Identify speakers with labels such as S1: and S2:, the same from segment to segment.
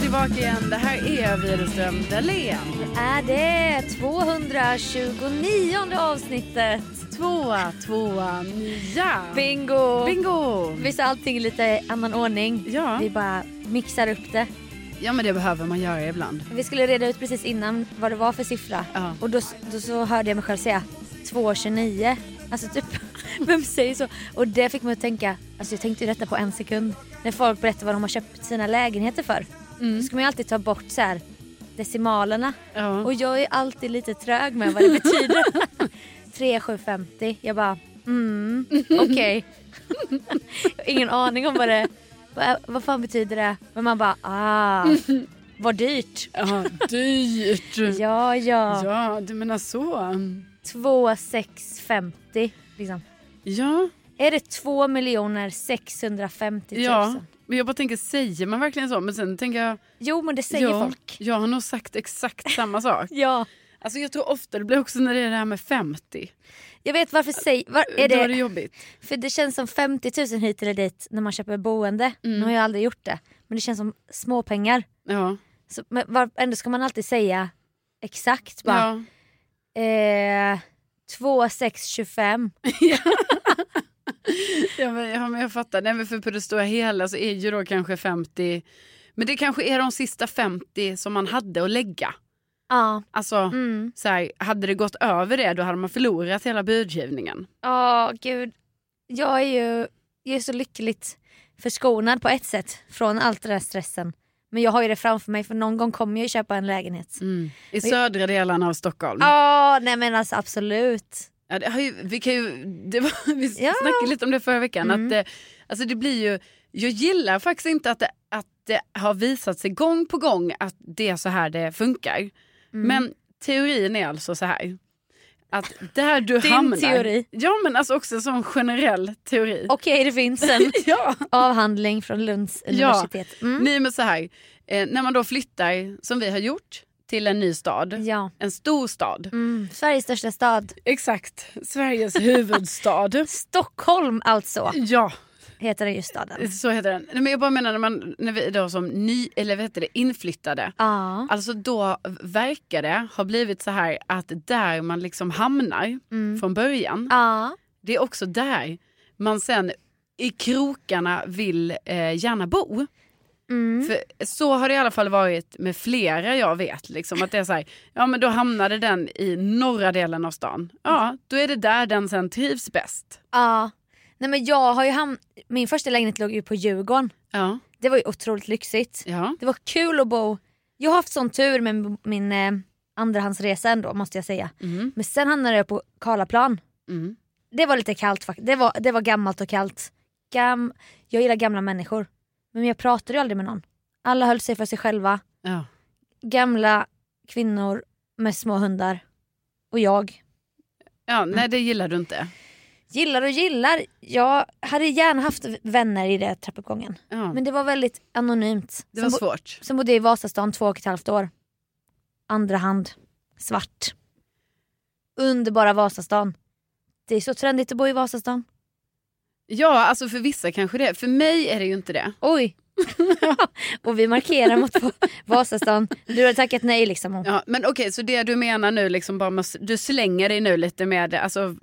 S1: tillbaka igen. Det här är Widerström Dahlén.
S2: Är det 229 avsnittet?
S1: Tvåa, tvåa, nya.
S2: Bingo!
S1: Bingo!
S2: Visst är allting i lite annan ordning?
S1: Ja.
S2: Vi bara mixar upp det.
S1: Ja, men det behöver man göra ibland.
S2: Vi skulle reda ut precis innan vad det var för siffra.
S1: Ja.
S2: Och då, s- då så hörde jag mig själv säga 229. Alltså typ, vem säger så? Och det fick mig att tänka, alltså jag tänkte ju detta på en sekund. När folk berättar vad de har köpt sina lägenheter för.
S1: Mm.
S2: Då ska man ju alltid ta bort så här decimalerna.
S1: Ja.
S2: Och jag är alltid lite trög med vad det betyder. 3750. Jag bara, mm, okej. Jag har Ingen aning om vad det, vad, vad fan betyder det? Men man bara, ah, vad dyrt.
S1: ja, dyrt.
S2: Ja, ja.
S1: Ja, du menar så.
S2: 2650 liksom.
S1: Ja,
S2: Är det 2 miljoner 650 000?
S1: ja. Men jag bara tänker, säger man verkligen så? Men sen tänker jag,
S2: Jo, men det säger
S1: ja,
S2: folk.
S1: jag har nog sagt exakt samma sak.
S2: Ja.
S1: Alltså jag tror ofta det blir också när det är det här med 50.
S2: Jag vet varför säger... Var, är
S1: Då är det
S2: det,
S1: jobbigt.
S2: för det känns som 50 000 hit eller dit när man köper boende. Nu har jag aldrig gjort det. Men det känns som småpengar.
S1: Ja.
S2: Så, men var, ändå ska man alltid säga exakt bara.
S1: Ja.
S2: Eh, 2625.
S1: Ja, men, ja, men jag fattar. Nej, men för på det stora hela så är ju då kanske 50... Men det kanske är de sista 50 som man hade att lägga.
S2: Ja.
S1: Alltså,
S2: Mm.
S1: så här, hade det gått över det då hade man förlorat hela budgivningen.
S2: Ja, gud. Jag är ju jag är så lyckligt förskonad på ett sätt från allt den här stressen. Men jag har ju det framför mig för någon gång kommer jag ju köpa en lägenhet. Ja,
S1: I södra delarna av Stockholm.
S2: Mm. nej men alltså absolut.
S1: Ja, det har ju, vi kan ju, det var, vi
S2: Ja.
S1: snackade lite om det förra veckan. Att det, alltså det blir ju, jag gillar faktiskt inte att det, att det har visat sig gång på gång att det är så här det funkar. Men teorin är alltså så här. Att där du
S2: Din
S1: hamnar.
S2: teori.
S1: Ja men alltså också en sån generell teori.
S2: Okej det finns en
S1: ja.
S2: avhandling från Lunds universitet. Mm.
S1: Nej men så här. Eh, när man då flyttar, som vi har gjort, till en ny stad.
S2: Ja.
S1: En stor stad.
S2: Mm. Sveriges största stad.
S1: Exakt. Sveriges huvudstad.
S2: Stockholm alltså
S1: ja.
S2: heter den ju staden.
S1: Så heter den. Nej, men jag bara menar när, man, när vi då som ny, eller vad heter det, inflyttade.
S2: Ja.
S1: Alltså då verkar det ha blivit så här att där man liksom hamnar från början.
S2: Ja.
S1: Det är också där man sen i krokarna vill eh, gärna bo.
S2: Mm.
S1: För så har det i alla fall varit med flera jag vet. Liksom, att det är så här, ja men då hamnade den i norra delen av stan. Ja, då är det där den sen trivs bäst.
S2: ja. Nej men jag har ju ham- Min första lägenhet låg ju på Djurgården.
S1: Ja,
S2: Det var ju otroligt lyxigt.
S1: ja.
S2: Det var kul att bo. Jag har haft sån tur med min- min eh, andrahandsresa ändå måste jag säga.
S1: Mm,
S2: Men sen hamnade jag på Karlaplan.
S1: mm.
S2: Det var lite kallt faktiskt. Det var, det var gammalt och kallt. Gam- jag gillar gamla människor. Men jag pratade ju aldrig med någon. Alla höll sig för sig själva.
S1: Ja.
S2: Gamla kvinnor med små hundar. Och jag.
S1: ja, nej det gillar du inte.
S2: Gillar och gillar. Jag hade gärna haft vänner i den trappuppgången.
S1: Ja.
S2: Men det var väldigt anonymt.
S1: Det var
S2: Som bo-
S1: svårt.
S2: Sen bodde jag i Vasastan två och ett halvt år. Andra hand. Svart. Underbara Vasastan. Det är så trendigt att bo i Vasastan.
S1: Ja, alltså för vissa kanske det. För mig är det ju inte det.
S2: Oj! och vi markerar mot Va- Vasastan. Du har tackat nej liksom. Och,
S1: Ja, men okej, så det du menar nu, liksom bara, man- du slänger dig nu lite med, alltså,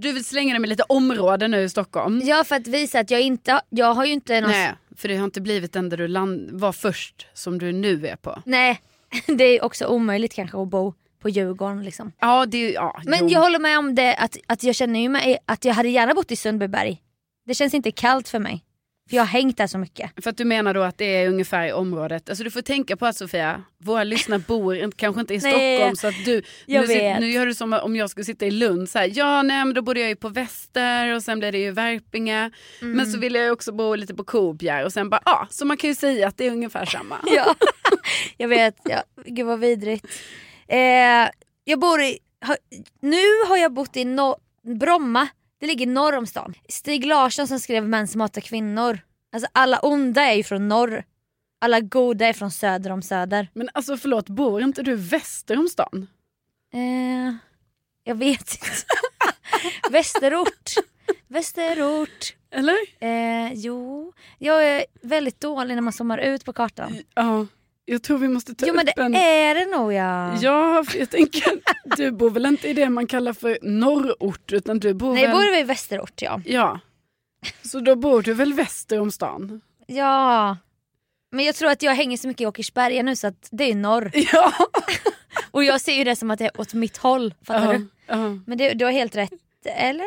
S1: du vill slänga dig med lite områden nu i Stockholm.
S2: ja för att visa att jag inte, jag har ju inte någon...
S1: Nej, för det har inte blivit den där du land, var först som du nu är på.
S2: nej. Det är också omöjligt kanske att bo på Djurgården liksom.
S1: Ja, det är ja,
S2: Men
S1: jo.
S2: jag håller med om det att, att jag känner ju mig, att jag hade gärna bott i Sundbyberg. Det känns inte kallt för mig. För jag har hängt där så mycket.
S1: För att du menar då att det är ungefär i området. Alltså du får tänka på att Sofia, våra lyssnare bor inte- kanske inte i
S2: Nej,
S1: Stockholm. så att du,
S2: jag
S1: nu, sit-
S2: vet.
S1: nu gör du som om jag skulle sitta i Lund. Så här, ja nej men då bodde jag ju på Väster och sen blev det ju Värpinge. Men
S2: Mm.
S1: så ville jag ju också bo lite på Kobjär och sen bara ja. Så man kan ju säga att det är ungefär samma.
S2: Ja, jag vet. Ja. Gud vad vidrigt. Eh, jag bor i, har, nu har jag bott i no, Bromma, det ligger norr om stan. Stig Larsson som skrev Män som hatar kvinnor. Alltså alla onda är ju från norr. Alla goda är från söder om söder.
S1: Men alltså förlåt, bor inte du väster om stan?
S2: Eh, jag vet inte. Västerort. Västerort.
S1: Eller?
S2: Eh, jo, jag är väldigt dålig när man zoomar ut på kartan.
S1: Ja. Jag tror vi måste ta
S2: Jo
S1: upp
S2: men det
S1: en...
S2: är det nog ja.
S1: Ja, för jag tänker, du bor väl inte i det man kallar för norrort utan du bor
S2: Nej jag
S1: väl...
S2: bor i Västerort ja.
S1: Ja. Så då bor du väl väster om stan?
S2: Ja. Men jag tror att jag hänger så mycket i Åkersberga nu så att det är norr.
S1: Ja.
S2: Och jag ser ju det som att det är åt mitt håll. Fattar
S1: Ja,
S2: du?
S1: ja.
S2: Men det, du har helt rätt. Eller?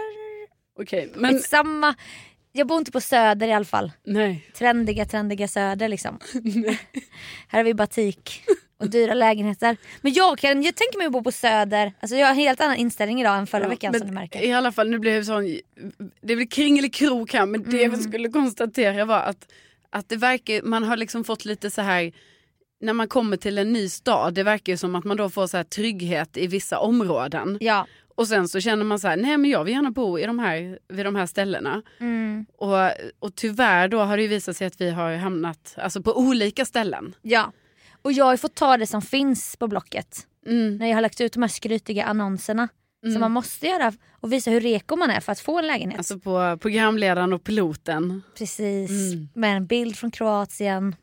S1: Okej, men
S2: Samma. Jag bor inte på söder i alla fall.
S1: nej.
S2: Trendiga, trendiga söder liksom. Här har vi batik och dyra lägenheter. Men jag, kan, jag tänker mig att bo på söder. Alltså jag har en helt annan inställning idag än förra
S1: Ja,
S2: veckan
S1: men eh,
S2: som du märker.
S1: I alla fall, nu blev det sån... Det blir kringelikrok här men det vi skulle konstatera var att, att det verkar, man har liksom fått lite så här när man kommer till en ny stad, det verkar ju som att man då får så här trygghet i vissa områden.
S2: Ja.
S1: Och sen så känner man så här, nej men jag vill gärna bo i de här, vid de här ställena.
S2: Mm.
S1: Och, och tyvärr då har det ju visat sig att vi har hamnat alltså, på olika ställen.
S2: ja. Och jag har ju fått ta det som finns på Blocket.
S1: Mm.
S2: När jag har lagt ut de här skrytiga annonserna. Som man måste göra och visa hur reko man är för att få en lägenhet.
S1: Alltså på programledaren och piloten.
S2: Precis,
S1: Mm.
S2: med en bild från Kroatien.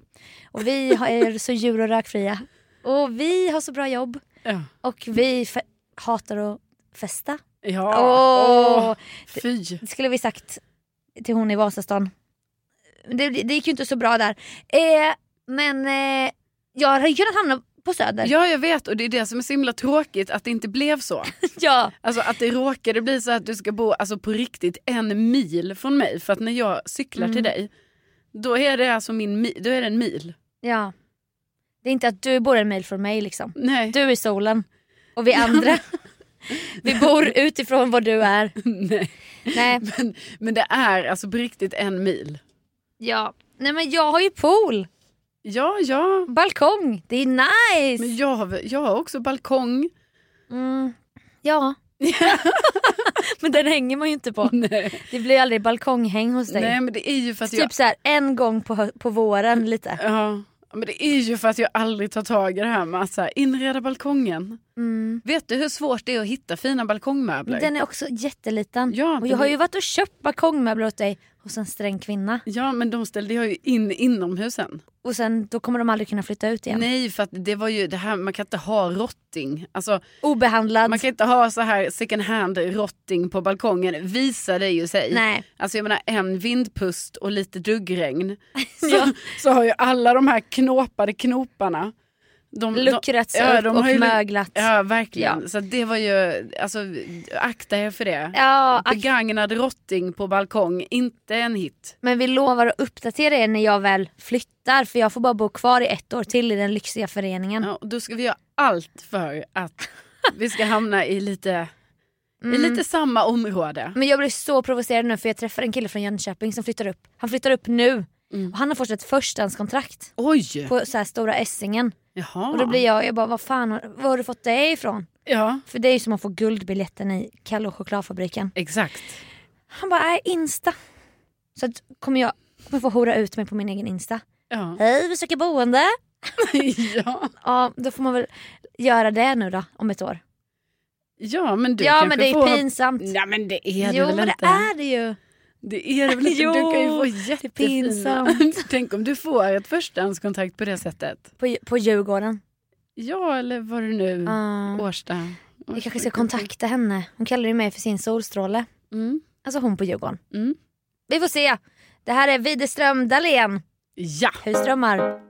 S2: Och vi har- är så djur och rökfria. Och vi har så bra jobb.
S1: Ja.
S2: Och vi fe- hatar att festa.
S1: Ja.
S2: Åh!
S1: Åh, fy.
S2: Det skulle vi sagt till hon i Vasastan. Det, det gick ju inte så bra där. Eh, men eh, jag hade ju kunnat hamna på Söder.
S1: Ja jag vet och det är det som är så himla tråkigt att det inte blev så.
S2: ja.
S1: Alltså att det råkade bli så att du ska bo alltså, på riktigt en mil från mig. För att när jag cyklar till dig då är det alltså min mi- då är det en mil.
S2: ja. Det är inte att du bor en mil från mig liksom.
S1: Nej.
S2: Du är solen. Och vi andra. vi bor utifrån var du är.
S1: Nej.
S2: Nej.
S1: Men, men det är alltså på riktigt en mil.
S2: Ja. Nej men jag har ju pool.
S1: Ja ja.
S2: Balkong, det är nice!
S1: Men jag har, jag har också balkong.
S2: Mm. Ja. men den hänger man ju inte på.
S1: Nej.
S2: Det blir aldrig balkonghäng hos dig.
S1: Nej men det är ju för att
S2: typ
S1: jag...
S2: så här en gång på, hö- på våren lite.
S1: Ja, men det är ju för att jag aldrig tar tag i det här med att så här, inreda balkongen.
S2: Mm.
S1: Vet du hur svårt det är att hitta fina balkongmöbler?
S2: Den är också jätteliten.
S1: Ja,
S2: och jag har
S1: den-
S2: ju varit och köpt balkongmöbler åt dig hos en sträng kvinna.
S1: Ja men de ställde jag ju in inomhus sen.
S2: Och sen då kommer de aldrig kunna flytta ut igen.
S1: Nej för att det var ju det här man kan inte ha rotting. Alltså
S2: Obehandlad.
S1: man kan inte ha så här second hand rotting på balkongen visar det ju sig.
S2: Nej.
S1: Alltså jag menar en vindpust och lite duggregn så, så har ju alla de här knåpade knoparna de,
S2: Luckrats upp och
S1: har ju-
S2: möglat.
S1: Ja verkligen. Så det var ju, alltså akta er för det.
S2: Ja, ak-
S1: Begagnad rotting på balkong, inte en hit.
S2: men vi lovar att uppdatera er när jag väl flyttar för jag får bara bo kvar i ett år till i den lyxiga föreningen.
S1: Ja, och då ska vi göra allt för att vi ska hamna i lite,
S2: Mm.
S1: i lite samma område.
S2: Men jag blir så provocerad nu för jag träffar en kille från Jönköping som flyttar upp. Han flyttar upp nu.
S1: Mm.
S2: Och han har fått ett förstahandskontrakt
S1: Oj!
S2: på så här stora Essingen.
S1: Jaha.
S2: Och då blir jag, jag bara vad fan, har- var har du fått det ifrån?
S1: Ja,
S2: För det är ju som att få guldbiljetten i Kalle och chokladfabriken.
S1: exakt.
S2: Han bara, är Insta. Så att kommer jag kommer få hora ut mig på min egen Insta.
S1: Ja.
S2: Hej vi söker boende.
S1: ja.
S2: Ja då får man väl göra det nu då om ett år.
S1: ja, men du
S2: ja
S1: kanske
S2: men det är
S1: får...
S2: pinsamt.
S1: Nej men det är det
S2: jo
S1: väl
S2: men
S1: inte?
S2: det är det ju.
S1: Det är det väl inte?
S2: Jo,
S1: du kan ju få
S2: det är
S1: jättefina...
S2: pinsamt.
S1: Tänk om du får ett förstahandskontrakt på det sättet.
S2: På, på Djurgården.
S1: Ja, eller var det nu?
S2: Ja.
S1: Årsta.
S2: Vi kanske ska kontakta henne. Hon kallar ju mig för sin solstråle.
S1: Mm.
S2: Alltså hon på Djurgården.
S1: Mm.
S2: Vi får se. Det här är Widerström Dahlén.
S1: Ja.
S2: Husdrömmar.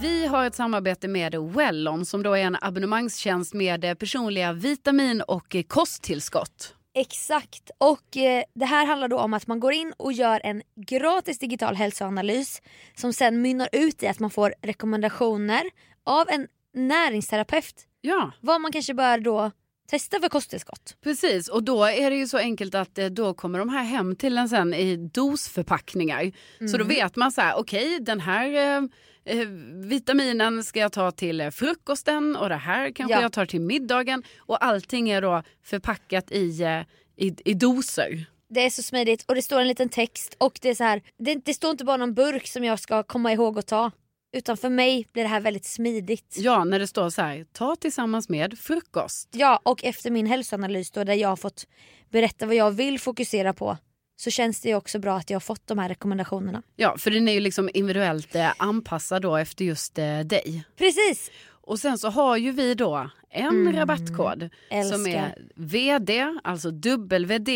S1: Vi har ett samarbete med Wellon som då är en abonnemangstjänst med eh, personliga vitamin och eh, kosttillskott.
S2: Exakt. Och eh, det här handlar då om att man går in och gör en gratis digital hälsoanalys som sen mynnar ut i att man får rekommendationer av en näringsterapeut.
S1: Ja,
S2: Vad man kanske bör då testa för kosttillskott.
S1: precis. Och då är det ju så enkelt att eh, då kommer de här hem till en sen i dosförpackningar. Så då vet man så här, okej den här eh, eh, vitaminen ska jag ta till eh, frukosten och det här kanske
S2: Ja.
S1: jag tar till middagen. Och allting är då förpackat i, eh, i, i doser.
S2: Det är så smidigt och det står en liten text och det är så här. Det, det står inte bara någon burk som jag ska komma ihåg att ta. Utan för mig blir det här väldigt smidigt.
S1: Ja, när det står så här, ta tillsammans med frukost.
S2: Ja och efter min hälsoanalys då där jag har fått berätta vad jag vill fokusera på så känns det ju också bra att jag har fått de här rekommendationerna.
S1: Ja, för den är ju liksom individuellt eh, anpassad då efter just eh, dig.
S2: Precis!
S1: Och sen så har ju vi då en
S2: Mm.
S1: rabattkod som
S2: Älskar.
S1: är VD, alltså WD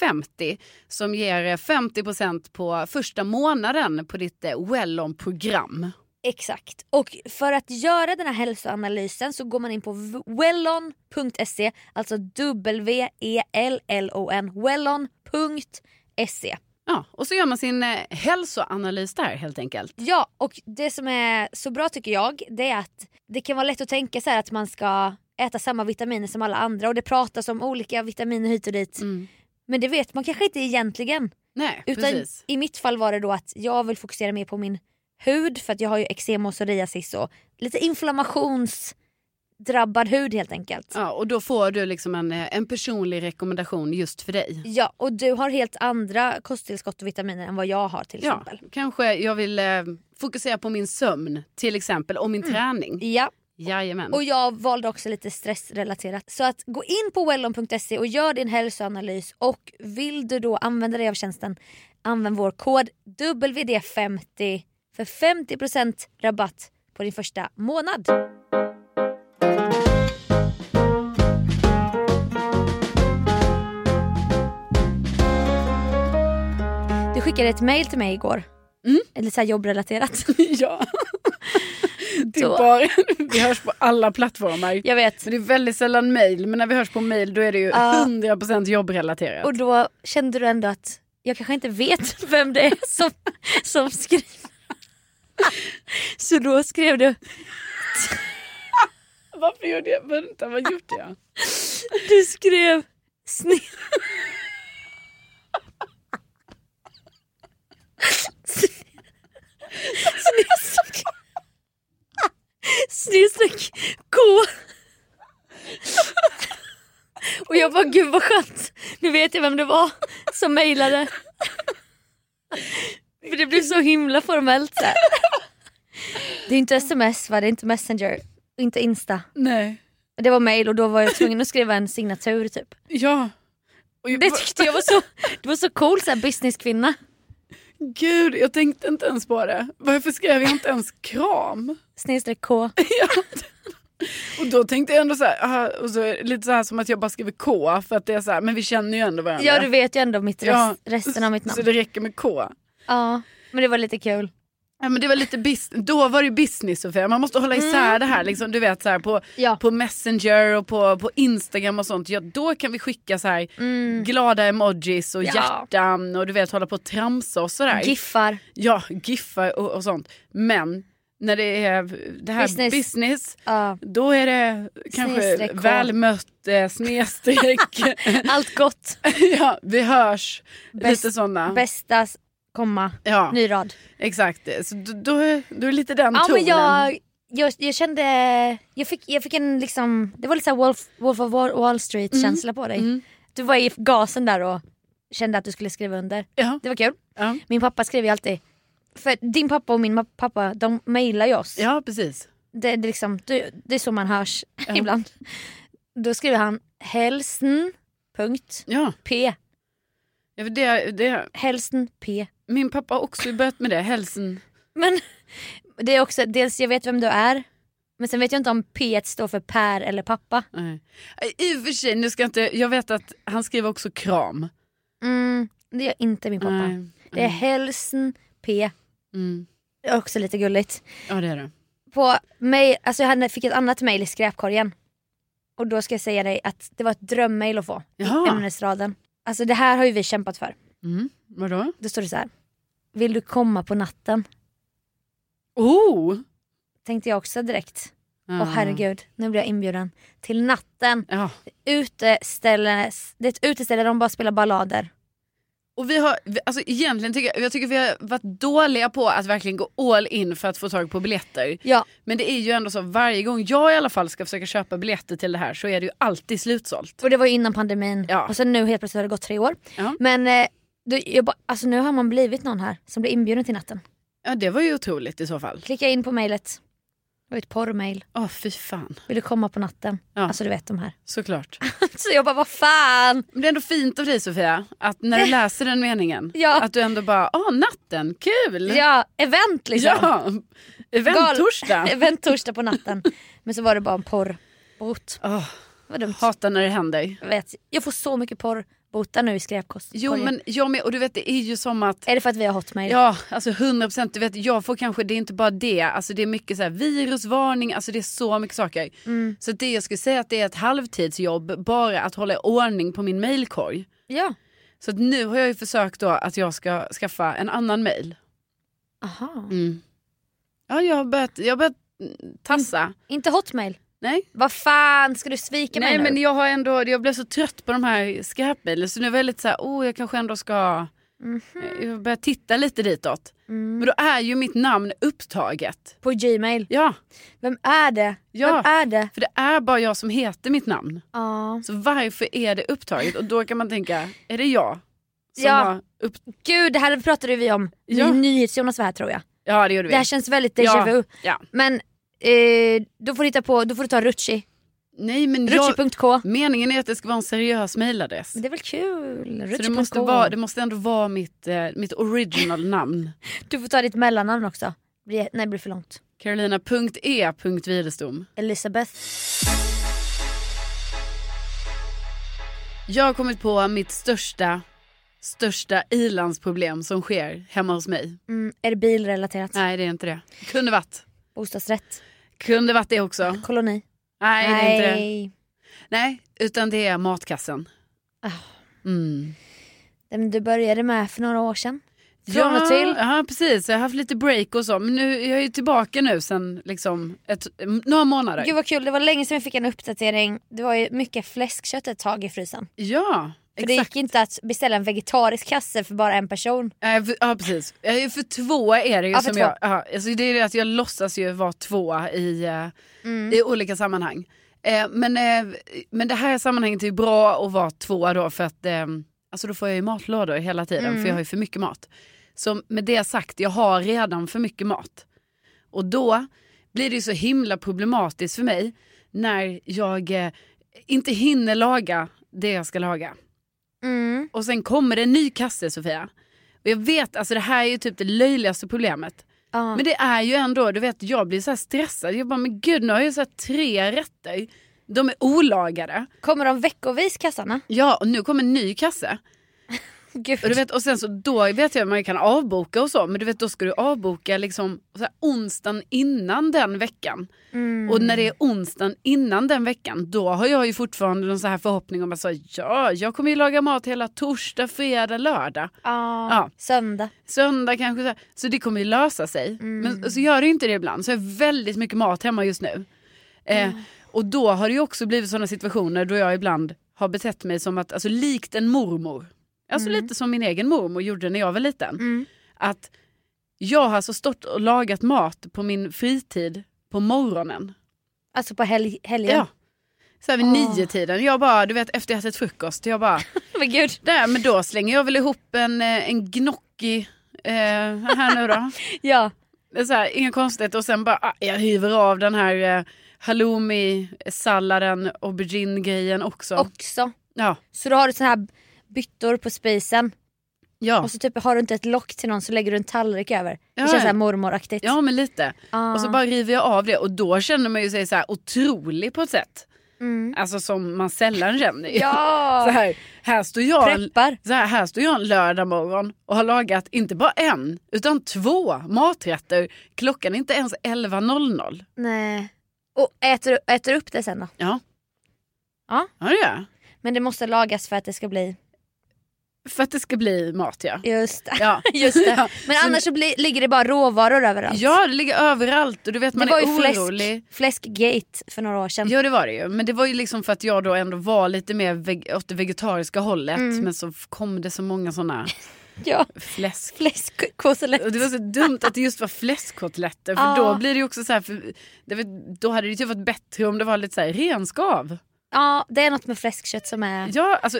S1: 50 som ger eh, 50 på första månaden på ditt eh, Wellon-program.
S2: Exakt. Och för att göra den här hälsoanalysen så går man in på v- wellon.se, alltså E W-E-L-L-O-N, E. wellon.se.
S1: Ja, och så gör man sin eh, hälsoanalys där helt enkelt.
S2: Ja, och det som är så bra tycker jag det är att det kan vara lätt att tänka så här att man ska äta samma vitaminer som alla andra och det pratas om olika vitaminer hit och dit.
S1: Mm.
S2: Men det vet man kanske inte egentligen.
S1: Nej,
S2: Utan
S1: precis.
S2: i mitt fall var det då att jag vill fokusera mer på min hud för att jag har ju eksem och psoriasis och lite inflammationsdrabbad hud helt enkelt. Ja.
S1: Ja, och då får du liksom en, eh, en personlig rekommendation just för dig.
S2: och du har helt andra kosttillskott och vitaminer än vad jag har till
S1: Ja,
S2: exempel.
S1: kanske jag vill eh, fokusera på min sömn till exempel och min
S2: Mm.
S1: träning.
S2: Ja,
S1: Jajamän.
S2: och jag valde också lite stressrelaterat. Så att gå in på wellon.se och gör din hälsoanalys och vill du då använda dig av tjänsten använd vår kod WD50 för 50% rabatt på din första månad. Du skickade ett mail till mig igår.
S1: Mm.
S2: Eller så här jobbrelaterat.
S1: Ja. Det är
S2: Då-
S1: bara, vi hörs på alla plattformar.
S2: Jag vet.
S1: Men det är väldigt sällan mail, men när vi hörs på mail då är det ju
S2: Ja.
S1: 100% jobbrelaterat.
S2: Och då kände du ändå att jag kanske inte vet vem det är som, som skriver. Så då skrev du,
S1: Varför gjorde jag, vänta vad gjorde jag?
S2: du skrev sned... Snedstreck... Snedstreck K. Och jag bara gud vad skönt, nu vet jag vem det var som mejlade. För det blev så himla formellt. Där. Det är inte sms va, det är inte messenger, inte insta.
S1: Nej,
S2: Det var mail och då var jag tvungen att skriva en signatur typ.
S1: ja. Och jag,
S2: Det tyckte jag var så, det var så cool såhär businesskvinna.
S1: Gud, jag tänkte inte ens på det. Varför skrev jag inte ens kram?
S2: Snedstreck K.
S1: Och då tänkte jag ändå så här, aha, och så är det lite så här som att jag bara skriver K för att det är så här, men vi känner ju ändå varandra.
S2: Ja du vet ju ändå mitt rest,
S1: Ja.
S2: resten av mitt
S1: Så
S2: namn.
S1: det räcker med K.
S2: Ja men det var lite kul.
S1: Ja, men det var lite bus- då var det business Sofia, man måste hålla isär
S2: Mm.
S1: det här. Liksom, du vet så här på,
S2: Ja.
S1: på Messenger och på, på Instagram och sånt. Ja, då kan vi skicka så här
S2: Mm.
S1: glada emojis och
S2: Ja.
S1: hjärtan och du vet hålla på och tramsa och sådär.
S2: Giffar.
S1: ja, giffar och, och sånt. Men när det är det här business,
S2: Business. Ja.
S1: då är det kanske
S2: Snedstreck K.
S1: välmött eh, snedstreck.
S2: Allt gott.
S1: ja, vi hörs.
S2: Bäst-
S1: lite sådana.
S2: Bästa s- komma.
S1: Ja,
S2: Ny rad.
S1: exakt. Så då, då, är, då är det lite den
S2: Ja
S1: tonen.
S2: men jag, jag, jag kände, jag fick, jag fick en liksom, det var lite såhär Wolf, Wolf of Wall- Wall Street känsla på dig.
S1: Mm.
S2: Du var i gasen där och kände att du skulle skriva under.
S1: Ja,
S2: Det var kul.
S1: ja.
S2: Min pappa skriver ju alltid, för din pappa och min ma- pappa de mejlar ju oss.
S1: ja, precis.
S2: Det, det, är liksom, det, det är så man hörs ibland. Då skriver han hälsn punkt
S1: Ja.
S2: p.
S1: Ja, för det, det,
S2: Hälsn p.
S1: min pappa har också börjat med det, hälsen.
S2: Men det är också, dels jag vet vem du är, men sen vet jag inte om p står för Per eller pappa.
S1: Nej. I och för sig, nu ska jag, inte, jag vet att han skriver också kram.
S2: Mm, det är inte min pappa.
S1: Nej.
S2: Det är hälsn p.
S1: Mm.
S2: Det är också lite gulligt.
S1: Ja det är det.
S2: på mig, alltså jag hade- fick ett annat mejl i skräpkorgen. Och då ska jag säga dig att det var ett drömmejl att få i
S1: Jaha.
S2: ämnesraden. Alltså det här har ju vi kämpat för.
S1: Mm. Vadå?
S2: Då står det så här. Vill du komma på natten?
S1: Oh!
S2: Tänkte jag också direkt.
S1: Ja.
S2: Åh herregud, nu blir jag inbjuden till natten.
S1: Ja.
S2: Uteställe, det är ett uteställe där de bara spelar ballader.
S1: Och vi har, vi- alltså egentligen tycker jag, jag tycker vi har varit dåliga på att verkligen gå all in för att få tag på biljetter.
S2: Ja,
S1: Men det är ju ändå så varje gång jag i alla fall ska försöka köpa biljetter till det här så är det ju alltid slutsålt.
S2: och det var ju innan pandemin.
S1: Ja.
S2: Och sen nu helt plötsligt har det gått tre år.
S1: Ja.
S2: Men eh, då, jag bara, alltså nu har man blivit någon här som blir inbjuden till natten.
S1: Ja, det var ju otroligt i så fall.
S2: Klicka in på mejlet. Det var ett porrmail.
S1: Åh, fy fan.
S2: Vill du komma på natten?
S1: Ja.
S2: Alltså du vet de här.
S1: Såklart.
S2: Så jag bara, vad fan.
S1: Men det är ändå fint av dig Sofia, att när du läser den meningen,
S2: Ja.
S1: att du ändå bara, åh natten, kul!
S2: Ja, event liksom.
S1: ja. Eventtorsdag.
S2: Event torsdag på natten. Men så var det bara en porrbot.
S1: Åh,
S2: Vad dumt.
S1: hatar när det händer.
S2: Jag, vet. jag får så mycket porrbotar nu i skräpkost.
S1: Jo
S2: Korgen.
S1: men jag med, och du vet det är ju som att
S2: Är det för att vi har hotmail?
S1: Ja, alltså 100 procent. Du vet, jag får kanske, det är inte bara det. Alltså det är mycket så här virusvarning, alltså det är så mycket saker.
S2: Mm.
S1: Så det jag skulle säga att det är ett halvtidsjobb bara att hålla ordning på min mailkorg.
S2: ja.
S1: Så att nu har jag ju försökt då att jag ska skaffa en annan mail.
S2: Aha.
S1: Mm. Ja, jag har börjat, jag har börjat mm, tassa.
S2: Inte hotmail?
S1: Nej.
S2: Vad fan, ska du svika
S1: Nej
S2: mig nu?
S1: men jag har ändå, jag blev så trött på de här skräpmailen så nu var jag lite så här, oh jag kanske ändå ska,
S2: Mhm.
S1: jag börjar titta lite ditåt. Men då är ju mitt namn upptaget.
S2: Mm. På gmail.
S1: Ja.
S2: Vem är det?
S1: Ja.
S2: Vem är det?
S1: För det är bara jag som heter mitt namn.
S2: Ja.
S1: Så varför är det upptaget? Och då kan man tänka, är det jag? Som
S2: Ja.
S1: har upp...
S2: Gud, det här pratade vi om.
S1: Ja.
S2: Ja. Nyhets-Jonas var här tror jag.
S1: ja det gjorde vi.
S2: Det här känns väldigt déjà vu.
S1: ja. ja.
S2: Men eh, då, får du hitta på, då får du ta Rutschi.
S1: Nej men jag...
S2: Rutschi.k.
S1: meningen är att det ska vara en seriös mailadress.
S2: Det är väl kul?
S1: Så det
S2: Rutschi.k.
S1: måste, vara, det måste ändå vara mitt, eh, mitt original namn.
S2: Du får ta ditt mellannamn också. Blir- Nej det blir för långt.
S1: E Carolina.e.Widerstom.
S2: Elisabeth.
S1: Jag har kommit på mitt största, största ilandsproblem som sker hemma hos mig.
S2: Mm, är det bilrelaterat?
S1: Nej det är inte det. Kunde varit.
S2: Bostadsrätt?
S1: Kunde varit det också.
S2: Koloni?
S1: Nej, Nej. det är inte det. Nej, utan det är matkassen.
S2: Ah.
S1: Mm.
S2: Den du började med för några år sedan. Från
S1: ja,
S2: och till.
S1: Ja, precis. Jag har haft lite break och så. Men nu, jag är ju tillbaka nu sen liksom, ett, några månader.
S2: Gud vad kul, det var länge sedan jag fick en uppdatering. Det var ju mycket fläskkött ett tag i frysen.
S1: Ja,
S2: För det
S1: exakt.
S2: gick inte att beställa en vegetarisk kasse för bara en person.
S1: Eh, för- Ja, precis. Eh, För två är det ju
S2: Ja, för
S1: som
S2: två.
S1: jag... Ja, alltså det är det att jag låtsas ju vara tvåa i, eh,
S2: Mm.
S1: i olika sammanhang. Eh, Men, eh, men det här sammanhanget är ju bra att vara tvåa då för att eh, alltså då får jag ju matlådor hela tiden
S2: Mm.
S1: för jag har ju för mycket mat. Så med det sagt, jag har redan för mycket mat. Och då blir det ju så himla problematiskt för mig när jag eh, inte hinner laga det jag ska laga.
S2: Mm.
S1: Och sen kommer det en ny kasse Sofia. Och jag vet, alltså det här är ju typ det löjligaste problemet.
S2: Ja.
S1: Men det är ju ändå, du vet jag blir så här stressad. Jag bara, men gud nu har jag så här tre rätter. De är olagade.
S2: Kommer de veckovis kassarna?
S1: Ja, och nu kommer en ny kasse.
S2: Gud.
S1: Och, du vet, och sen så då vet jag att man kan avboka och så. Men du vet då ska du avboka liksom så här, onsdagen innan den veckan.
S2: Mm.
S1: Och när det är onsdagen innan den veckan då har jag ju fortfarande någon så här förhoppning om att så, här, ja, jag kommer ju laga mat hela torsdag, fredag, lördag.
S2: Ja.
S1: Ja.
S2: Söndag.
S1: söndag kanske. Så, här. så det kommer ju lösa sig.
S2: Mm.
S1: Men så gör det ju inte det ibland. Så jag har väldigt mycket mat hemma just nu. Eh,
S2: Mm.
S1: Och då har det ju också blivit sådana situationer då jag ibland har betett mig som att, alltså likt en mormor. Alltså lite som min egen mormor gjorde när jag var liten.
S2: Mm.
S1: Att jag har alltså stått och lagat mat på min fritid på morgonen.
S2: Alltså på helg- helgen.
S1: Ja. Så här vid
S2: Åh.
S1: nio tiden. Jag bara, du vet efter jag ätit frukost. Jag bara,
S2: Men gud.
S1: där men då slänger jag väl ihop en, eh, en gnocchi eh, här nu då.
S2: Ja.
S1: Det är så här, inga konstigt och sen bara ah, jag hyver av den här eh, halloumi-salladen, aubergine-grejen också.
S2: Också.
S1: ja,
S2: Så då har du såna här byttor på spisen.
S1: ja.
S2: Och så typ har du inte ett lock till någon så lägger du en tallrik över. Det
S1: Ja,
S2: känns
S1: ja.
S2: såhär mormoraktigt.
S1: ja men lite.
S2: Ah.
S1: Och så bara river jag av det och då känner man ju sig så här otrolig på ett sätt.
S2: Mm.
S1: Alltså som man sällan känner. ju. Så
S2: Ja!
S1: här, här, står jag en,
S2: Preppar.
S1: så här, här står jag en lördag morgon och har lagat inte bara en utan två maträtter. Klockan är inte ens 11.00.
S2: Nej. Och äter, äter upp det sen då.
S1: Ja.
S2: Ja.
S1: ja det gör jag.
S2: Men det måste lagas för att det ska bli...
S1: För att det ska bli mat ja.
S2: Just det.
S1: Ja.
S2: Just det.
S1: Ja.
S2: Men annars så bli, ligger det bara råvaror överallt.
S1: Ja, det ligger överallt och du vet
S2: det
S1: man
S2: var
S1: är
S2: ju
S1: orolig.
S2: fläsk, fläskgate för några år sedan.
S1: Ja det var det ju. Men det var ju liksom för att jag då ändå var lite mer veg- åt det vegetariska hållet.
S2: Mm.
S1: Men så f- kom det så många sådana
S2: Ja.
S1: fläsk.
S2: Fläskkotlett.
S1: Och det var så dumt att det just var fläskkotletter. För
S2: Ja.
S1: då blir det ju också så här, för, det var, då hade det ju typ varit bättre om det var lite så här renskav.
S2: Mm. Ja, det är något med fläskkött som är... Mm.
S1: Ja, alltså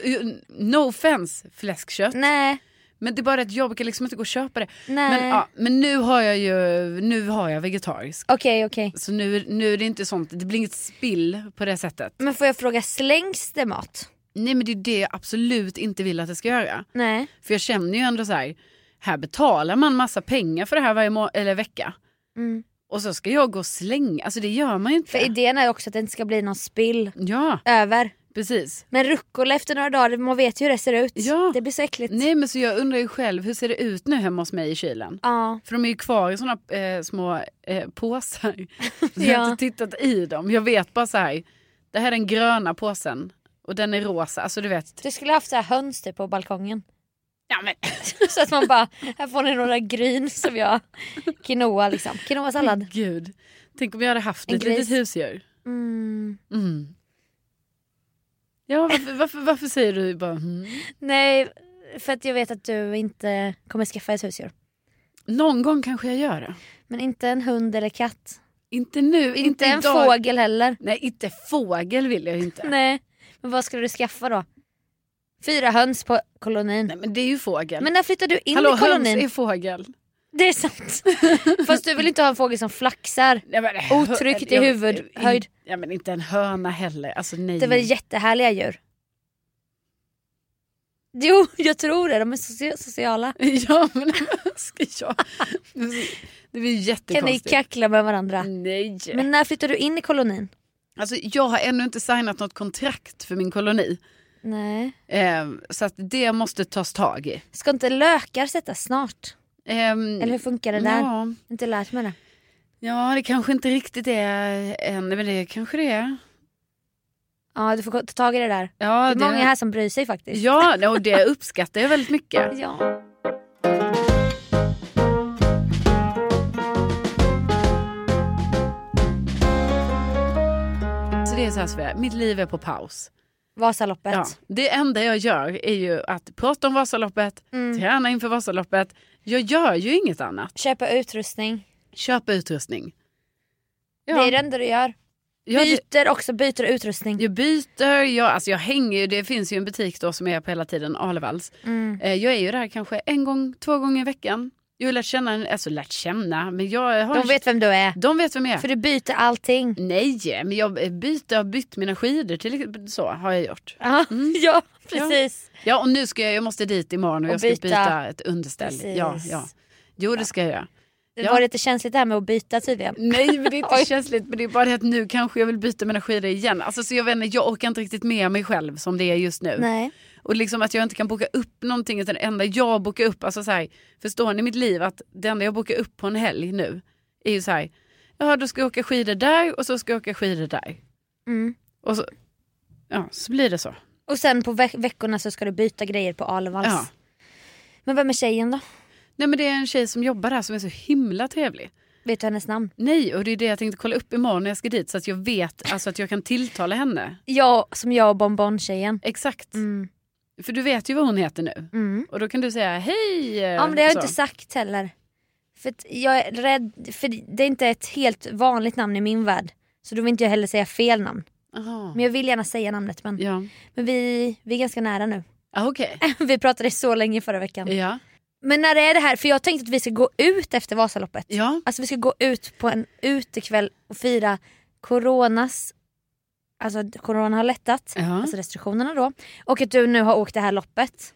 S1: no offense fläskkött.
S2: Nej.
S1: Men det är bara att jag brukar liksom inte gå och köpa det.
S2: Nej.
S1: Men, ja, men nu har jag ju nu har jag vegetariskt.
S2: Okej okej.
S1: Så nu, nu är det inte sånt, det blir inget spill på det sättet.
S2: Men får jag fråga, slängs det mat?
S1: Nej men det är det jag absolut inte vill att det ska göra.
S2: Nej.
S1: För jag känner ju ändå så här, här betalar man massa pengar för det här varje må- eller vecka.
S2: Mm.
S1: Och så ska jag gå och slänga, alltså det gör man ju inte.
S2: För idén är också att det inte ska bli någon spill
S1: Ja,
S2: över.
S1: precis.
S2: Men rucola efter några dagar, man vet ju hur det ser ut.
S1: Ja.
S2: Det blir så äckligt.
S1: Nej men så jag undrar ju själv, hur ser det ut nu hemma hos mig i kylen?
S2: Ja.
S1: För de är ju kvar i såna eh, små eh, påsar. Jag har
S2: Ja.
S1: inte tittat i dem. Jag vet bara så här. Det här är den gröna påsen. Och den är rosa. Alltså du vet.
S2: Du skulle haft så här höns typ på balkongen.
S1: Ja, men.
S2: så att man bara, här får ni några gryn som jag, quinoa liksom. Quinoa-sallad.
S1: Gud. Tänk om jag hade haft
S2: En
S1: ett
S2: gris.
S1: litet husdjur.
S2: Mm.
S1: Mm. Ja varför, varför, varför säger du bara mm?
S2: Nej, för att jag vet att du inte kommer skaffa ett husdjur.
S1: Någon gång kanske jag gör det.
S2: Men inte en hund eller katt.
S1: Inte nu. Inte,
S2: Inte en
S1: idag.
S2: fågel heller.
S1: Nej inte fågel vill jag ju inte. Nej.
S2: Nej. Men vad skulle du skaffa då? Fyra höns på kolonin.
S1: men det är ju fågel.
S2: Men när flyttar du in
S1: Hallå
S2: i
S1: höns
S2: kolonin?
S1: är fågel.
S2: Det är sant. Fast du vill inte ha en fågel som flaxar.
S1: Nej, men-
S2: Otryckt i
S1: Jag-
S2: huvudhöjd.
S1: Ja men inte en höna heller. Alltså nej.
S2: Det är väl jättehärliga djur? Jo, jag tror det. De är socia- sociala.
S1: Ja men vad ska jag? Det Mm. blir ju
S2: Kan ni
S1: jättekonstigt.
S2: kackla med varandra?
S1: Nej.
S2: Men när flyttar du in i kolonin?
S1: Alltså, jag har ännu inte signat något kontrakt för min koloni.
S2: Nej.
S1: Eh, så att det måste tas tag i.
S2: Ska inte lökar sättas snart?
S1: Ehm,
S2: Eller hur funkar det där?
S1: Ja,
S2: Inte lärt mig det.
S1: ja, det kanske inte riktigt är än, men det kanske det är.
S2: Ja, du får ta tag i det där.
S1: Ja,
S2: Det är många här som bryr sig faktiskt.
S1: Ja, nej, och det uppskattar jag väldigt mycket.
S2: Ja.
S1: Så det är så här Sofia, mitt liv är på paus.
S2: Vasaloppet.
S1: Ja, det enda jag gör är ju att prata om Vasaloppet,
S2: Mm.
S1: träna inför Vasaloppet. Jag gör ju inget annat.
S2: Köpa utrustning.
S1: Köpa utrustning. Ja,
S2: Det är det enda du gör.
S1: jag,
S2: Byter också, byter utrustning.
S1: jag byter, jag, alltså jag hänger ju. Det finns ju en butik då som jag är på hela tiden, Alevalls.
S2: Mm.
S1: Eh, jag är ju där kanske en gång, två gånger i veckan. Jag har lärt känna, en- alltså lärt känna, men jag har...
S2: De vet vem du är.
S1: de vet vem jag är.
S2: För du byter allting.
S1: Nej, men jag eh, byter, har bytt mina skidor till exempel. Så har jag gjort.
S2: Ja, Mm. ja precis.
S1: Ja, och nu ska jag, jag måste dit imorgon och,
S2: Och
S1: jag ska byta,
S2: byta.
S1: ett underställ.
S2: Precis.
S1: Ja, ja. Jo, det ska jag göra.
S2: Det
S1: Ja.
S2: var lite känsligt det här med att byta tydligen.
S1: Nej men det är inte
S2: Oj.
S1: känsligt men det är bara det att nu kanske jag vill byta mina skidor igen. Alltså, så jag, vet inte, jag orkar inte riktigt med mig själv som det är just nu.
S2: Nej.
S1: Och liksom att jag inte kan boka upp någonting utan det enda jag bokar upp, alltså så här, förstår ni mitt liv att det enda jag bokar upp på en helg nu är ju så här, ja då ska jag åka skidor där och så ska jag åka skidor där.
S2: Mm.
S1: Och så, ja, så blir det så.
S2: Och sen på ve- veckorna så ska du byta grejer på Alvalls.
S1: Ja.
S2: Men vem är tjejen då?
S1: Nej men det är en tjej som jobbar där som är så himla trevlig.
S2: Vet du hennes namn?
S1: Nej och det är det jag tänkte kolla upp imorgon när jag ska dit så att jag vet alltså att jag kan tilltala henne.
S2: Jag som jag och Bonbon-tjejen.
S1: Exakt.
S2: Mm.
S1: För du vet ju vad hon heter nu.
S2: Mm.
S1: Och då kan du säga hej.
S2: Ja men det har
S1: så.
S2: jag inte sagt heller. För att jag är rädd, för det är inte ett helt vanligt namn i min värld. Så då vill inte jag heller säga fel namn.
S1: Jaha.
S2: Men jag vill gärna säga namnet men,
S1: Ja,
S2: men vi, vi är ganska nära nu.
S1: ah, okej.
S2: vi pratade så länge förra veckan.
S1: Ja.
S2: Men när är det här? För jag tänkte att vi ska gå ut efter Vasaloppet.
S1: ja,
S2: Alltså vi ska gå ut på en utekväll och fira coronas, alltså att corona har lättat,
S1: ja.
S2: alltså restriktionerna då. Och att du nu har åkt det här loppet.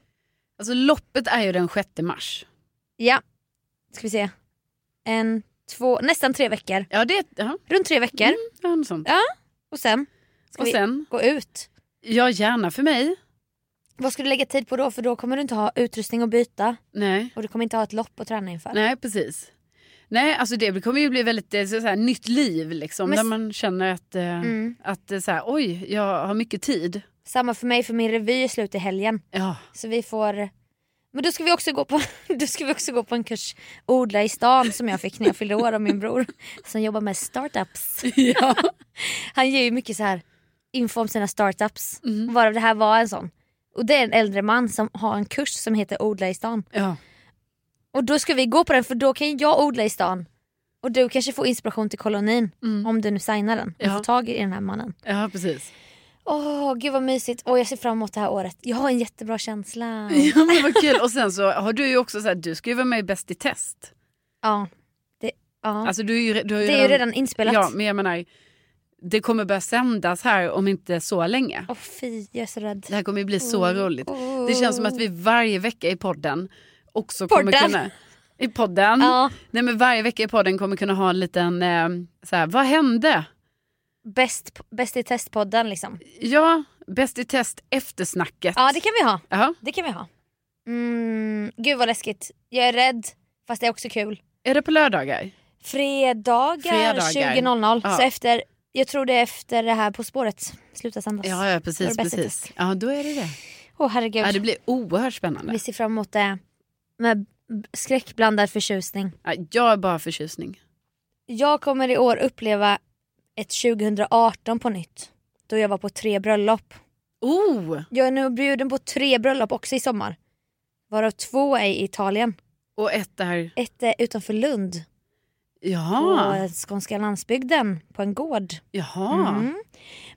S1: Alltså loppet är ju den 6 mars.
S2: Ja, ska vi se. En, två, nästan tre veckor.
S1: Ja, det ja,
S2: Runt tre veckor.
S1: ja, något sånt.
S2: Ja, Och sen
S1: Mm.
S2: ska
S1: Och
S2: vi
S1: sen,
S2: gå ut.
S1: ja gärna för mig.
S2: Vad ska du lägga tid på då? För då kommer du inte ha utrustning att byta
S1: Nej,
S2: och du kommer inte ha ett lopp att träna inför.
S1: nej precis. Nej, alltså det kommer ju bli väldigt eh, så så här, nytt liv liksom.
S2: Men
S1: Där
S2: s-
S1: man känner att, eh,
S2: Mm.
S1: att eh, så här, oj, jag har mycket tid.
S2: Samma för mig för min revy är slut i helgen.
S1: Ja,
S2: Så vi får men då ska, vi också gå på, då ska vi också gå på en kurs odla i stan som jag fick när jag fyllde år av min bror som jobbar med startups.
S1: ja.
S2: Han ger ju mycket så här info om sina startups
S1: Mm.
S2: varav det här var en sån. Och det är en äldre man som har en kurs som heter odla i stan.
S1: ja.
S2: Och då ska vi gå på den för då kan jag odla i stan. Och du kanske får inspiration till kolonin
S1: Mm.
S2: om du nu signar den och
S1: Ja.
S2: får tag i den här mannen.
S1: ja precis.
S2: Åh gud vad mysigt. Åh jag ser fram emot det här året. Jag har en jättebra känsla.
S1: Ja men vad kul. Och sen så har du ju också så här, du ska ju vara med i Bäst i test.
S2: Ja. Det, ja.
S1: Alltså du, är ju re- du har ju
S2: det är ju redan inspelat.
S1: Ja men jag menar, det kommer börja sändas här om inte så länge.
S2: Åh fy, jag är så rädd.
S1: Det här kommer ju bli så
S2: Oh,
S1: roligt. Det känns som att vi varje vecka i podden också kommer
S2: Podden.
S1: kunna... I podden.
S2: Ja,
S1: Nej men varje vecka i podden kommer kunna ha en liten, eh, så här, vad hände?
S2: bäst, bäst i testpodden liksom.
S1: Ja, Bäst i test eftersnacket.
S2: Ja det kan vi ha.
S1: Jaha.
S2: Det kan vi ha. Mm, gud vad läskigt. Jag är rädd fast det är också kul.
S1: Är det på lördagar?
S2: Fredagar,
S1: Fredagar.
S2: 20.00.
S1: Ja.
S2: Så efter, jag tror det är efter det här På spåret slutar sändas. Åh
S1: Ja, ja
S2: Då är
S1: precis.
S2: det Bäst i
S1: precis.
S2: test.
S1: Ja, då är det det.
S2: herregud.
S1: Ja, det blir oerhört
S2: Vi
S1: spännande.
S2: ser fram emot det med b- skräckblandad förtjusning.
S1: Ja, jag är bara förtjusning.
S2: Jag kommer i år uppleva ett 2018 på nytt. Då jag var på tre bröllop.
S1: Oh!
S2: Jag är nu bjuden på tre bröllop också i sommar. Varav två är i Italien.
S1: Och ett där.
S2: Ett är utanför Lund.
S1: Jaha.
S2: På skånska landsbygden. På en gård.
S1: Jaha. Mm.
S2: Mm.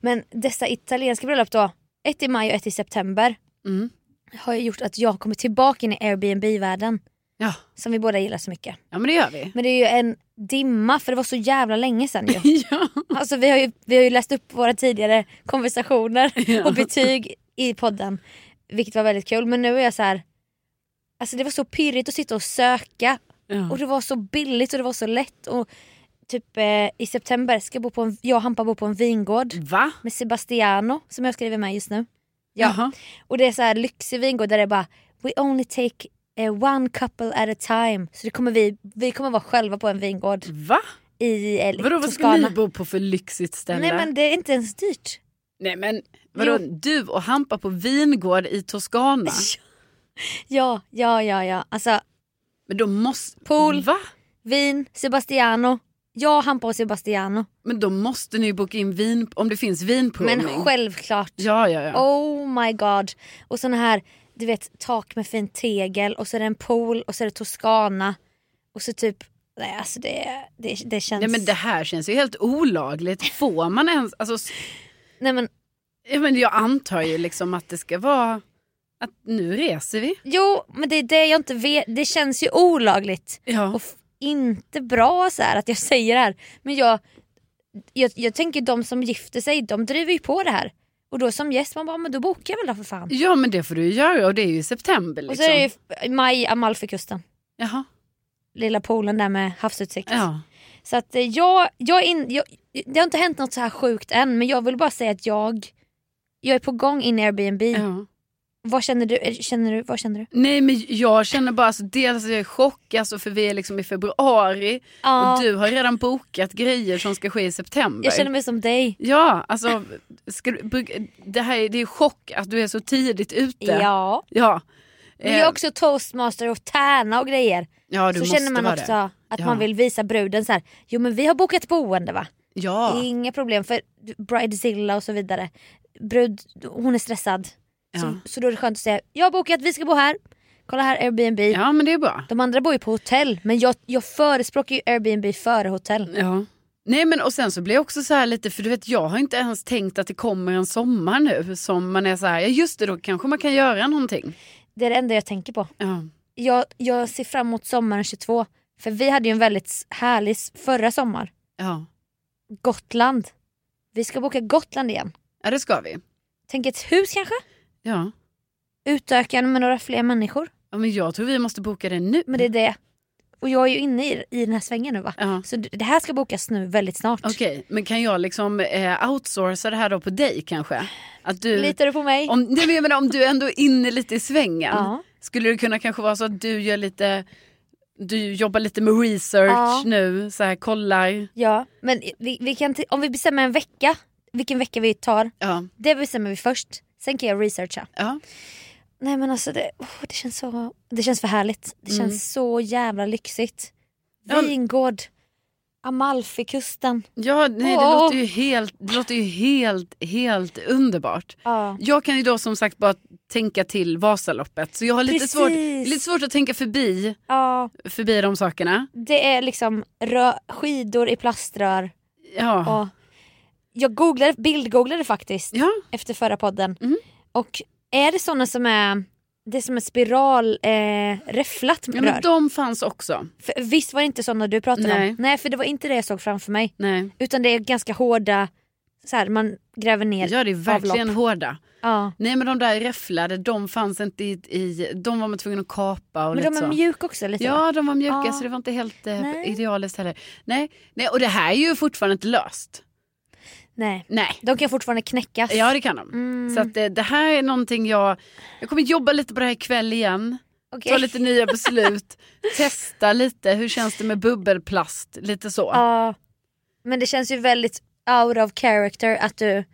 S2: Men dessa italienska bröllop då. Ett i maj och ett i september.
S1: Mm.
S2: Har ju gjort att jag kommer tillbaka in i Airbnb-världen.
S1: Ja.
S2: Som vi båda gillar så mycket.
S1: ja, men det gör vi.
S2: Men det är ju en dimma för det var så jävla länge sedan ju.
S1: ja.
S2: Alltså vi har ju, vi har ju läst upp våra tidigare konversationer
S1: Ja.
S2: och betyg i podden. Vilket var väldigt kul men nu är jag så här. Alltså det var så pirrigt att sitta och söka
S1: Ja.
S2: och det var så billigt och det var så lätt. Och typ eh, i september ska jag, bo på en, jag och Hampa bo på en vingård
S1: Va?
S2: med Sebastiano som jag skriver med just nu. Ja.
S1: Jaha.
S2: Och det är så här lyxig vingård där det är bara We only take eh, one couple at a time. Så det kommer vi, vi kommer vara själva på en vingård
S1: Va?
S2: i eh,
S1: Vadå, vad ska ni bo på för lyxigt ställe?
S2: Nej men det är inte ens dyrt.
S1: Nej, men vadå,
S2: Jo.
S1: du och Hampa på vingård i Toscana?
S2: Ja, ja, ja, ja. Alltså
S1: Men då måste...
S2: Pool.
S1: Va?
S2: vin, Sebastiano. Jag, Hampa och Sebastiano.
S1: Men då måste ni ju boka in vin... Om det finns vinprovning.
S2: Men självklart.
S1: Ja, ja, ja.
S2: Oh my god. Och såna här, du vet tak med fint tegel och så är det en pool och så är det Toscana. Och så typ, nej alltså det, det, det känns...
S1: Nej men det här känns ju helt olagligt. Får man ens... Alltså, s-
S2: nej, men,
S1: ja, men jag antar ju liksom att det ska vara... Att nu reser vi.
S2: jo men det är det jag inte vet, det känns ju olagligt.
S1: Ja.
S2: och f- inte bra så här att jag säger det här. Men jag, jag, jag tänker de som gifter sig, de driver ju på det här. Och då som gäst, man bara, men då bokar jag väl då för fan.
S1: ja men det får du ju göra och det är ju i september. Liksom.
S2: Och så är det ju f- maj, Amalfikusten.
S1: Jaha.
S2: Lilla poolen där med havsutsikt.
S1: Ja.
S2: Så att eh, jag, jag, är in, jag, det har inte hänt något så här sjukt än men jag vill bara säga att jag, jag är på gång in i Airbnb.
S1: Ja.
S2: Vad känner du? eh, Känner du? Vad känner du?
S1: Nej men jag känner bara alltså, dels är jag i chock alltså, för vi är liksom i februari
S2: Ja,
S1: och du eh, har redan bokat grejer som ska ske i september.
S2: jag känner mig som dig.
S1: Ja, alltså ska du, bruk- det här är, det är chock att du är så tidigt ute.
S2: Ja.
S1: ja.
S2: Men
S1: Eh,
S2: jag är också toastmaster och tärna och grejer.
S1: ja, du
S2: så
S1: måste
S2: känner man
S1: vara
S2: också
S1: det.
S2: att
S1: Ja.
S2: man vill visa bruden så här. jo men vi har bokat boende va?
S1: Ja.
S2: Inga problem för bridezilla och så vidare. Brud, hon är stressad.
S1: Ja.
S2: Så, så då är det skönt att säga, jag har bokat, vi ska bo här. Kolla här Airbnb.
S1: ja men det är bra.
S2: De andra bor ju på hotell men jag, jag förespråkar ju Airbnb före hotell.
S1: Ja. Nej men och sen så blir jag också så här lite, för du vet jag har inte ens tänkt att det kommer en sommar nu som man är så här, ja just det då kanske man kan göra någonting.
S2: Det är det enda jag tänker på.
S1: Ja.
S2: Jag, jag ser fram emot sommaren 22. För vi hade ju en väldigt härlig s- förra sommar.
S1: Ja.
S2: Gotland. Vi ska boka Gotland igen.
S1: ja, det ska vi.
S2: Tänk ett hus kanske?
S1: Ja.
S2: Utöka med några fler människor.
S1: ja men jag tror vi måste boka det nu.
S2: Men det är det. Och jag är ju inne i, i den här svängen nu va.
S1: Ja.
S2: Så d- det här ska bokas nu väldigt snart.
S1: Okej, men kan jag liksom eh, outsourca det här då på dig kanske? Att du,
S2: Litar du på mig?
S1: om, nej, men jag menar, om du ändå är inne lite i svängen,
S2: Ja.
S1: skulle det kunna kanske vara så att du gör lite, du jobbar lite med research
S2: Ja.
S1: nu, så här kollar.
S2: Ja. Men vi, vi kan t- om vi bestämmer en vecka, vilken vecka vi tar,
S1: Ja.
S2: det bestämmer vi först. Sen kan jag researcha.
S1: Ja.
S2: Nej men alltså det, åh, det känns så Det känns för härligt. Det
S1: Mm.
S2: känns så jävla lyxigt.
S1: Ja.
S2: Vingård, Amalfikusten.
S1: Ja, nej, det,
S2: Åh.
S1: låter ju helt, det låter ju helt, helt underbart.
S2: Ja.
S1: Jag kan ju då som sagt bara tänka till Vasaloppet. Så jag har lite,
S2: Precis.
S1: svårt, lite svårt att tänka förbi,
S2: ja.
S1: förbi de sakerna.
S2: Det är liksom rö- skidor i plaströr
S1: Ja,
S2: och jag googlade, bildgooglade faktiskt
S1: Ja.
S2: efter förra podden.
S1: Mm.
S2: Och är det sådana som är det är som är spiral, eh, räfflat
S1: ja,
S2: rör?
S1: men de fanns också.
S2: För, visst var det inte sådana du pratade
S1: Nej.
S2: om? Nej för det var inte det jag såg framför mig.
S1: Nej.
S2: Utan det är ganska hårda, så här, man gräver ner.
S1: Ja, det är verkligen
S2: Avlopp.
S1: hårda.
S2: Ja.
S1: Nej men de där räfflade, de fanns inte i, i de var man tvungen att kapa och
S2: Men
S1: lite
S2: de är
S1: så.
S2: mjuka också lite va?
S1: Ja, de var mjuka
S2: Ja.
S1: så det var inte helt eh,
S2: Nej.
S1: idealiskt heller. Nej. Nej, och det här är ju fortfarande inte löst.
S2: Nej.
S1: Nej,
S2: De kan fortfarande knäckas.
S1: ja det kan de.
S2: Mm,
S1: Så att, eh, det här är någonting jag, jag kommer jobba lite på det här ikväll igen.
S2: okej.
S1: Ta lite nya beslut, testa lite, hur känns det med bubbelplast? Lite så.
S2: Ja. Men det känns ju väldigt out of character att du t-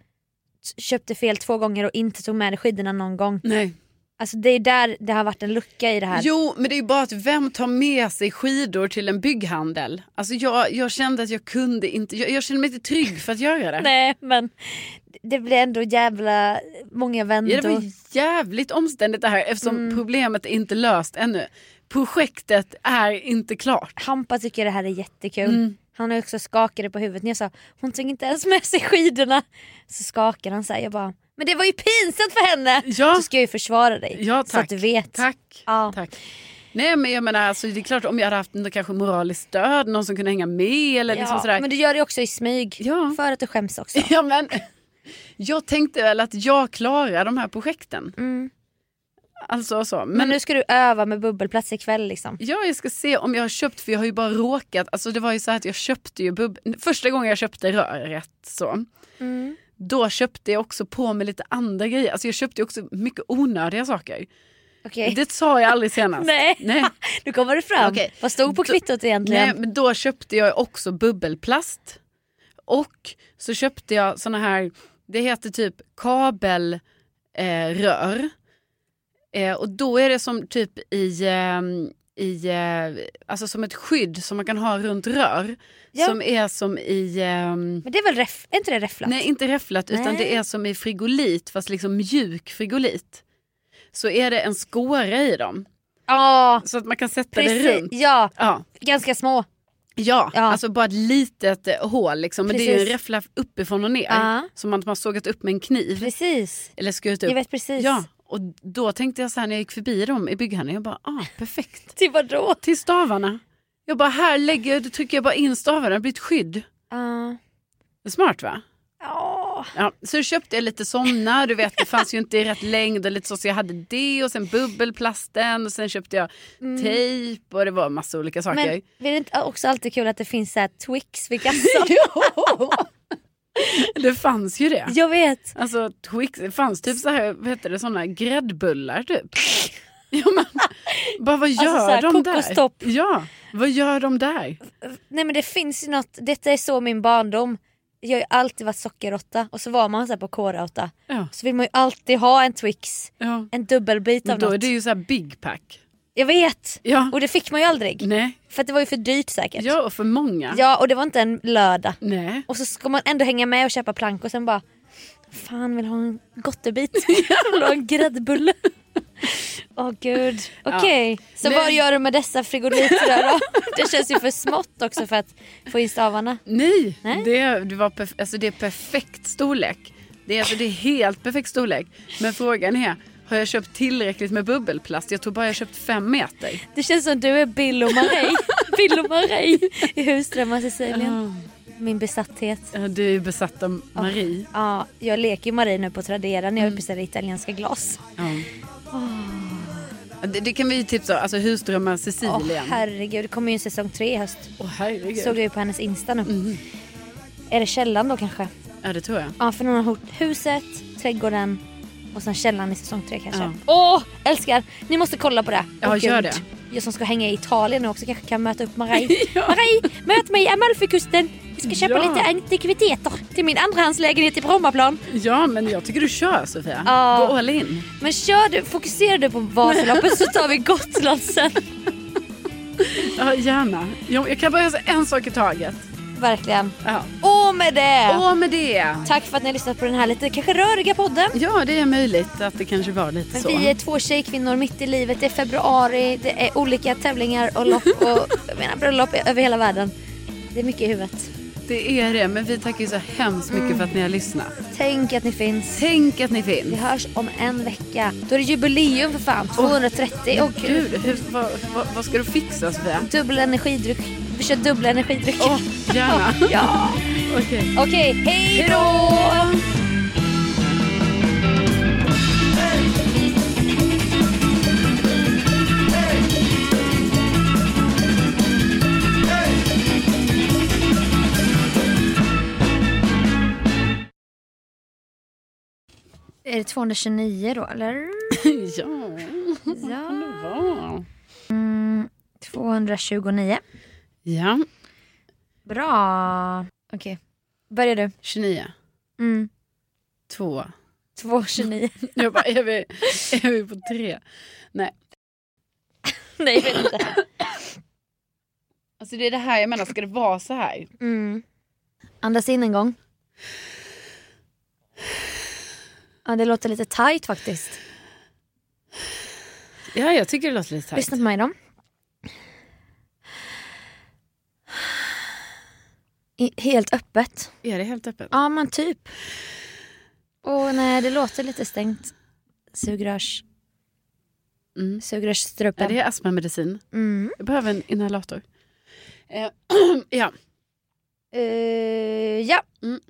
S2: köpte fel två gånger och inte tog med dig skidorna någon gång.
S1: Nej.
S2: Alltså det är där det har varit en lucka i det här.
S1: Jo, men det är ju bara att vem tar med sig skidor till en bygghandel? Alltså jag, jag kände att jag kunde inte, jag, jag kände mig inte trygg för att göra det.
S2: Nej men det blir ändå jävla många
S1: Ja,
S2: vändor.
S1: det var jävligt omständigt det här eftersom
S2: Mm.
S1: problemet är inte löst ännu. Projektet är inte klart.
S2: Hampa tycker det här är jättekul.
S1: Mm.
S2: Han har också skakade på huvudet när jag sa hon tog inte ens med sig skidorna. Så skakade han såhär, jag bara men det var ju pinsamt för henne!
S1: Ja,
S2: Så ska jag ju försvara dig.
S1: ja
S2: Så att
S1: tack.
S2: du vet.
S1: Tack.
S2: Ja.
S1: tack. Nej men jag menar alltså, det är klart om jag hade haft något kanske moraliskt stöd, någon som kunde hänga med eller liksom
S2: Ja,
S1: sådär.
S2: Men du gör det också i smyg.
S1: Ja.
S2: För att du skäms också.
S1: Ja, men, jag tänkte väl att jag klarar de här projekten.
S2: Mm.
S1: Alltså så. Men,
S2: Men nu ska du öva med bubbelplats ikväll liksom.
S1: Ja, jag ska se om jag har köpt, för jag har ju bara råkat, alltså det var ju så här att jag köpte ju bubb... Första gången jag köpte röret så,
S2: Mm.
S1: då köpte jag också på mig lite andra grejer. Alltså jag köpte ju också mycket onödiga saker.
S2: Okej.
S1: Det sa jag aldrig senast.
S2: Nej,
S1: Nej.
S2: nu kommer det fram.
S1: Okej.
S2: Vad stod på
S1: Då-
S2: kvittot egentligen?
S1: Nej, men då köpte jag också bubbelplast. Och så köpte jag såna här, det heter typ kabelrör. Eh, rör. eh, och då är det som typ i, eh, i eh, alltså som ett skydd som man kan ha runt rör.
S2: Ja.
S1: Som är som i, ehm,
S2: Men det är väl ref- är inte det räfflat?
S1: nej inte räfflat utan
S2: Nej.
S1: det är som i frigolit fast liksom mjuk frigolit. Så är det en skåra i dem.
S2: Ja,
S1: Så att man kan sätta det
S2: precis.
S1: runt.
S2: Ja,
S1: Ja.
S2: ganska små.
S1: Ja,
S2: Ja.
S1: alltså bara ett litet eh, hål liksom. Men det är ju en
S2: Precis.
S1: räffla uppifrån och ner.
S2: Ja. Typ.
S1: Som att man har sågat upp med en kniv.
S2: Precis.
S1: Eller skurit upp.
S2: Jag vet precis.
S1: Ja, och då tänkte jag så här när jag gick förbi dem i bygghandeln. Jag bara, ah perfekt.
S2: Till vadå?
S1: Till stavarna. Jag bara, här lägger jag, då trycker jag bara in stavarna. Det blir ett skydd.
S2: Ja.
S1: Smart va?
S2: Ja.
S1: Ja, så köpte jag lite sådana, du vet det fanns ju inte i rätt längd och lite så, så jag hade det och sen bubbelplasten och sen köpte jag tejp och det var massa olika saker.
S2: Mm. Men är det inte också alltid kul att det finns så här Twix vid kassan?
S1: Det fanns ju det.
S2: jag vet.
S1: Alltså Twix, det fanns typ så här, vad heter det, såna gräddbullar typ. Ja, men, bara vad gör
S2: Alltså, så här,
S1: de där?
S2: kokostopp.
S1: Ja, vad gör de där?
S2: Nej men det finns ju något, detta är så min barndom. Jag har ju alltid varit sockerrotta och så var man så här på kårauta.
S1: Ja,
S2: Så vill man ju alltid ha en Twix,
S1: ja.
S2: en dubbelbit
S1: Men
S2: av
S1: då är
S2: något.
S1: det ju så här big pack.
S2: Jag vet!
S1: Ja,
S2: Och det fick man ju aldrig.
S1: nej,
S2: För att det var ju för dyrt säkert.
S1: ja och för många.
S2: Ja, och det var inte en lördag.
S1: Nej.
S2: Och så ska man ändå hänga med och köpa plank och sen bara Fan vill ha en gottebit. Jag vill ha en gräddbulle. Åh gud. Okej, så
S1: Men-
S2: vad gör du med dessa frigoliter då? Det känns ju för smått också för att få in stavarna.
S1: Nej,
S2: Nej.
S1: Det, det, var perf- alltså, det är perfekt storlek. Det är, alltså, det är helt perfekt storlek. Men frågan är, har jag köpt tillräckligt med bubbelplast? Jag tror bara jag har köpt fem meter.
S2: Det känns som du är Bill och Marie. Bill och Marie i Husdrömmar Sicilien.
S1: Ja,
S2: Min besatthet.
S1: Du är ju besatt av Marie.
S2: Ja, jag leker ju Marie nu på Tradera när jag beställer italienska glas.
S1: Ja. Det, det kan vi ju tipsa om. Alltså husdrömmar
S2: Åh
S1: Sicilien.
S2: herregud, det kommer ju en säsong tre i höst.
S1: Åh, herregud.
S2: Såg jag ju på hennes Insta nu. Är det källan då kanske?
S1: Ja det tror jag.
S2: Ja, för någon har gjort huset, trädgården och sen källan i säsong tre kanske.
S1: Ja.
S2: Åh, älskar! Ni måste kolla på det.
S1: Ja,
S2: Åh,
S1: gör
S2: gud.
S1: det.
S2: Jag som ska hänga i Italien nu också kanske kan möta upp Marie. Marie, möt mig i Amalfikusten. Jag ska köpa
S1: Ja.
S2: lite antikviteter till min andrahandslägenhet i Brommaplan.
S1: Ja men jag tycker du kör Sofia.
S2: Ja.
S1: Gå all in.
S2: Men kör du, fokuserar du på Vasaloppet så tar vi Gotland sen.
S1: Ja gärna. Jag, jag kan bara göra så en sak i taget.
S2: Verkligen.
S1: Ja.
S2: Och med det!
S1: Och med det.
S2: Tack för att ni har lyssnat på den här lite kanske röriga podden.
S1: Ja det är möjligt att det kanske var lite
S2: Men
S1: så.
S2: vi är två tjejkvinnor mitt i livet. Det är februari, det är olika tävlingar och lopp och jag menar, bröllop över hela världen. Det är mycket i huvudet.
S1: Det är det, men vi tackar ju så hemskt mycket för att ni har lyssnat.
S2: Tänk att ni finns.
S1: Tänk att ni
S2: Vi
S1: finns.
S2: hörs om en vecka. Då är det jubileum för fan. 230. Åh gud.
S1: Gud, hur, vad, vad, vad ska du fixa Sofia?
S2: Dubbel energidryck. Vi kör dubbla energidrycker.
S1: Åh, gärna.
S2: Ja.
S1: Okej.
S2: Okej, hej då! Är det 229 då eller?
S1: ja,
S2: Ja.
S1: det var.
S2: 229.
S1: Ja,
S2: Bra. Okej, börjar du.
S1: 29,
S2: Mm.
S1: 2.
S2: 229.
S1: Jag bara, är vi, är vi på 3?
S2: Nej, jag vet inte.
S1: Alltså det är det här jag menar, ska det vara så här?
S2: Mm. Andas in en gång. Ja, det låter lite tight faktiskt.
S1: Ja, jag tycker det låter lite tajt.
S2: Lyssna på mig då. I, helt öppet.
S1: Är det helt öppet?
S2: Ja, men typ. Och nej, det låter lite stängt. Sugrörs.
S1: Mm. Är
S2: Sugrörsstrupen.
S1: det astmamedicin?
S2: Mm.
S1: Jag behöver en inhalator. Eh, ja.
S2: Eh, ja.
S1: Mm.